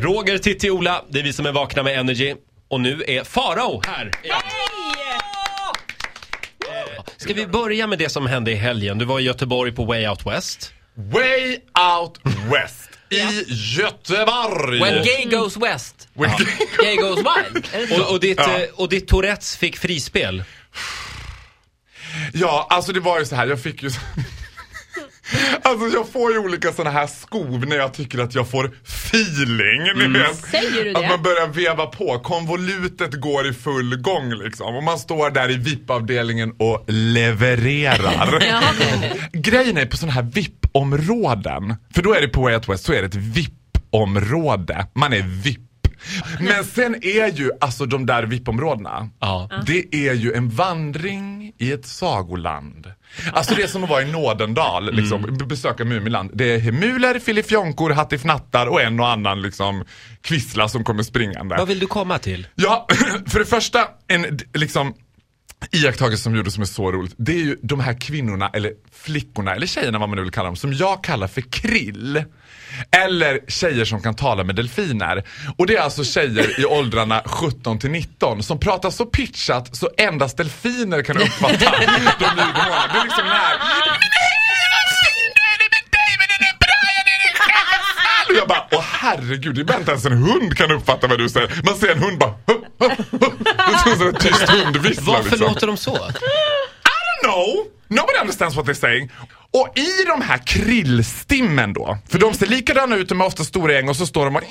Roger, Titti, Ola, det är vi som är vakna med Energy. Och nu är Farao här! Eh, Ska vi börja med det som hände i helgen? Du var i Göteborg på Way Out West. Way Out West i Göteborg. Eh, When gay goes west, When gay goes wild. Är det så? Och, och, ditt, Ja. eh, och ditt Tourettes fick frispel. Ja, alltså det var ju så här, jag fick ju... så- Alltså jag får ju olika såna här skov när jag tycker att jag får feeling. Ni vet. Säger du Att man det? börjar veva på. Konvolutet går i full gång liksom. Och man står där i VIP-avdelningen och levererar. Grejen är på sådana här VIP-områden. För då är det på Way Out West så är det ett VIP-område. Man är VIP. Men sen är ju alltså de där VIP-områdena. Ja. Det är ju en vandring i ett sagoland. Alltså det är som att vara i Nådendal, liksom, b- besöka Mumiland. Det är hemuler, filifjonkor, hattifnattar och en och annan liksom kvissla som kommer springande. Vad vill du komma till? Ja, för det första, en d- liksom iakttagelse som gjordes som är så roligt. Det är ju de här kvinnorna, eller flickorna, eller tjejerna vad man nu vill kalla dem, som jag kallar för krill. Eller tjejer som kan tala med delfiner. Och det är alltså tjejer i åldrarna 17 till 19 som pratar så pitchat så endast delfiner kan uppfatta de ljudnivåerna. Det är liksom den här... Och jag bara, åh herregud, det är bara inte ens en hund kan uppfatta vad du säger. Man ser en hund bara, hup, hup, hup. Det är som en tyst hundvissla Varför liksom. låter de så? No! Nobody understands what they're saying. Och i de här krillstimmen då, för de ser likadana ut, de är ofta stora gäng och så står de och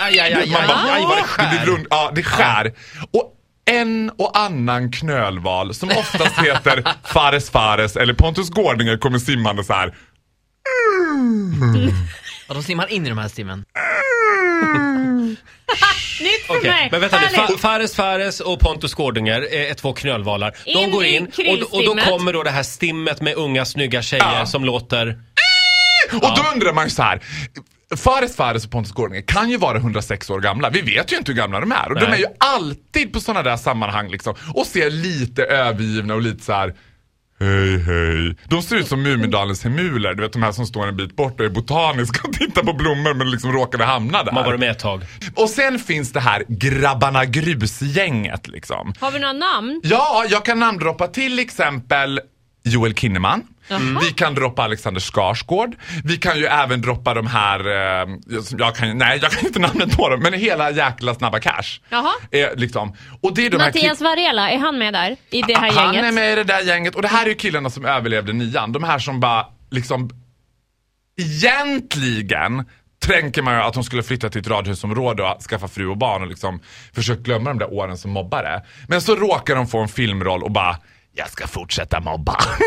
Aj, aj, aj, aj, man bara, aj vad det skär. blir rund, ja, det skär. Och en och annan knölval som oftast heter Fares Fares eller Pontus Gårdinger kommer simmande så här. Och de simmar in i de här stimmen. Nytt för Okej, mig! men vänta nu. Härligt. Fa- Fares Fares och Pontus Gårdinger är två knölvalar. De In går i in och, då- och då krillstimmet. kommer då det här stimmet med unga snygga tjejer Ja. som låter... Och då undrar man ju så här. Fares Fares och Pontus Gårdinger kan ju vara 106 år gamla. Vi vet ju inte hur gamla de är. Och de Nej. är ju alltid på sådana där sammanhang liksom. Och ser lite övergivna och lite så här. Hej hej. De ser ut som Mumindalens hemuler. Du vet de här som står en bit bort och är botaniska och tittar på blommor men liksom råkade hamna där. Man har varit med ett tag. Och sen finns det här grabbarna grus-gänget liksom. Har vi några namn? Ja, jag kan namndroppa till exempel Joel Kinnaman. Mm. Vi kan droppa Alexander Skarsgård. Vi kan ju även droppa de här, eh, jag- jag kan, nej jag kan inte namnet på dem, men hela jäkla Snabba Cash. Jaha. Eh, liksom. Och det är de här Mattias Varela, är han med där? I det här han gänget? är med i det där gänget och det här är ju killarna som överlevde nian. De här som bara liksom egentligen tänker man ju att de skulle flytta till ett radhusområde och skaffa fru och barn och liksom försökt glömma de där åren som mobbare. Men så råkar de få en filmroll och bara jag ska fortsätta mobba. de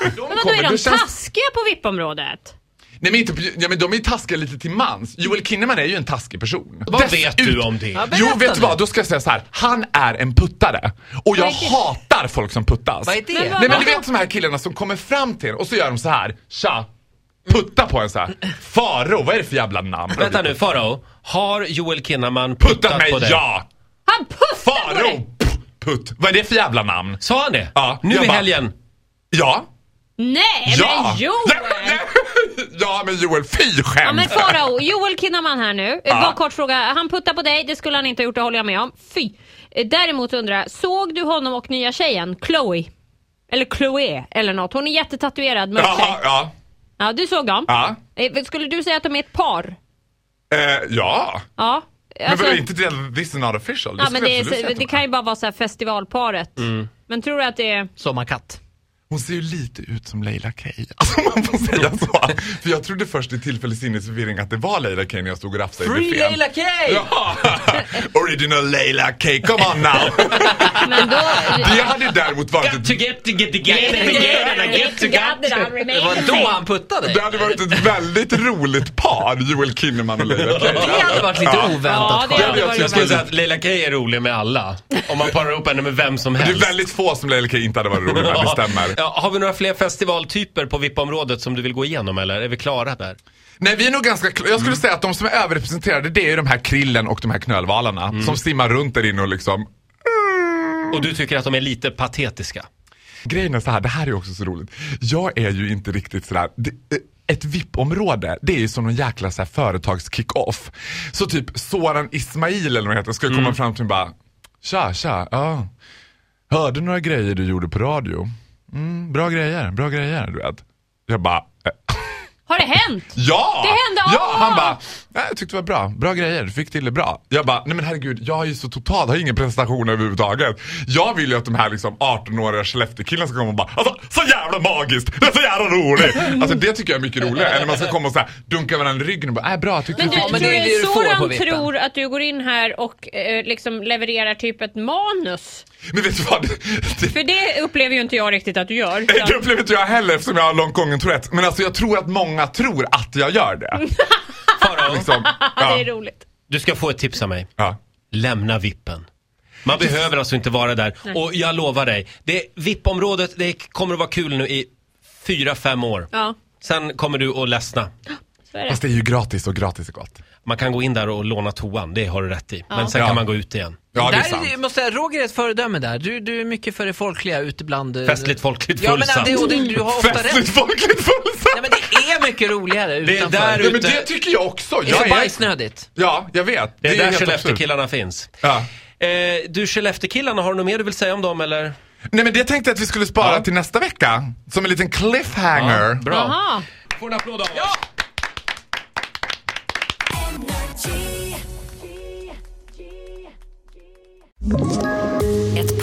Men vadå, är de det känns... taskiga på VIP-området? Nej men, inte, ja, men de är ju taskiga lite till mans. Joel Kinnaman är ju en taskig person. Vad vet du Dessutom- om det? Ja, Jo, berätta vet du nu. vad? Då ska jag säga så här. Han är en puttare. Och jag Vad är det? hatar folk som puttas. Vad är det? Men vad- Nej men du vet de här killarna som kommer fram till en och så gör de så här. Tja! Putta på en så här. Faro, vad är det för jävla namn? Vänta nu, Farao. Har Joel Kinnaman puttat, Puttat mig, på dig? ja! Han puffar på dig! Faro! Putt, Putt! Vad är det för jävla namn? Sa han det? Ja, nu jag i bara- helgen? Ja! Nej, Ja! men Joel! ja men Joel, fy Ja men skämt! Farao, Joel Kinnaman här nu. Ja. Bara kort fråga, han puttar på dig, det skulle han inte ha gjort, det håller jag med om. Fy! Eh, Däremot undrar jag, såg du honom och nya tjejen, Chloe? Eller Chloé eller något, hon är jättetatuerad mörk Jaha, tjej. ja. Ja du såg dem? Ja. Eh, Skulle du säga att de är ett par? Eh, ja. Ja. Men Alltså- vadå, inte det, this is not official? Ja, skulle men jag det, absolut säga är, att det de kan är. ju bara vara så här festivalparet. Mm. Men tror du att det är... Sommarkatt. Hon ser ju lite ut som Leila K. Alltså man får säga så. För jag trodde först i tillfällig sinnesförvirring att det var Leila K när jag stod och rafsade i Free buffén. Leila K! Ja. Original Leila K, come on now! Men då... Det hade däremot varit ett, get to get to get to get to get to Det var då han puttade dig. det hade varit ett väldigt roligt par, Joel Kinnaman och Leila K. Det hade varit lite Ja, oväntat. det hade Jag varit Jag skulle roligt. säga att Leila Kay är rolig med alla. Om man parar ihop henne med vem som Det helst. är väldigt få som Leila K inte hade varit roligt med, det stämmer. Ja, har vi några fler festivaltyper på VIP-området som du vill gå igenom eller? Är vi klara där? Nej vi är nog ganska kl- Jag skulle säga att de som är överrepresenterade det är ju de här krillen och de här knölvalarna som simmar runt där inne och liksom Och du tycker att de är lite patetiska? Grejen är så här, det här är också så roligt. Jag är ju inte riktigt sådär, det, eh, ett VIP-område, det är ju som någon jäkla så här, företags-kick-off. Så typ Soran Ismail eller vad han heter skulle komma fram till mig och bara Tja, tja, ja. Hörde några grejer du gjorde på radio. Mm, bra grejer, bra grejer, du vet. Jag bara, eh, Har det hänt? ja! Det hände, Ja, ah! han bara, "Nej, jag tyckte det var bra, bra grejer, du fick till det bra. Jag bara, nej men herregud, jag har ju så totalt, har ingen presentation överhuvudtaget. Jag vill ju att de här liksom 18-åriga Skellefteå-killarna ska komma och bara, alltså så jävla magiskt, det är så jävla roligt. Alltså det tycker jag är mycket roligare än när man ska komma och så här, dunka varandra i ryggen och bara, nej bra, jag tyckte Men du du, fick Ja, men tror det är det du får på Soran vippen. tror att du går in här och eh, liksom levererar typ ett manus. Men vet du vad? Det, För det upplever ju inte jag riktigt att du gör. det, det upplever inte jag heller eftersom jag har långt gången Tourettes. Men alltså jag tror att många tror att jag gör det. Farao, Liksom, det är ja, roligt. du ska få ett tips av mig. ja. Lämna vippen. Man behöver alltså inte vara där. Och jag lovar dig, det VIP-området det kommer att vara kul nu i fyra fem år. Ja, Sen kommer du att ledsna. så är det. Fast det är ju gratis och gratis är gott. Man kan gå in där och låna toan, det har du rätt i. Men sen Ja. kan man gå ut igen. Ja, det är där sant. är, måste jag, Roger är ett föredöme där. Du, du är mycket för det folkliga ute bland... eh, Festligt, folkligt, Ja, men alltså, fullsatt. det, och det, du har ofta Festligt, rätt. folkligt, Nej, fullsatt. men det är mycket roligare är utanför. där Ja, men ute. det tycker jag också. Det är så Jag är, bajsnödigt. ja, jag vet. Det är där helt absurt. Skellefteå-killarna finns. Ja. Eh, du, Skellefteå-killarna, har du något mer du vill säga om dem eller? Nej men det tänkte jag att vi skulle spara Ja. till nästa vecka. Som en liten cliffhanger. Bra. Jaha. Får en applåd av oss. Ett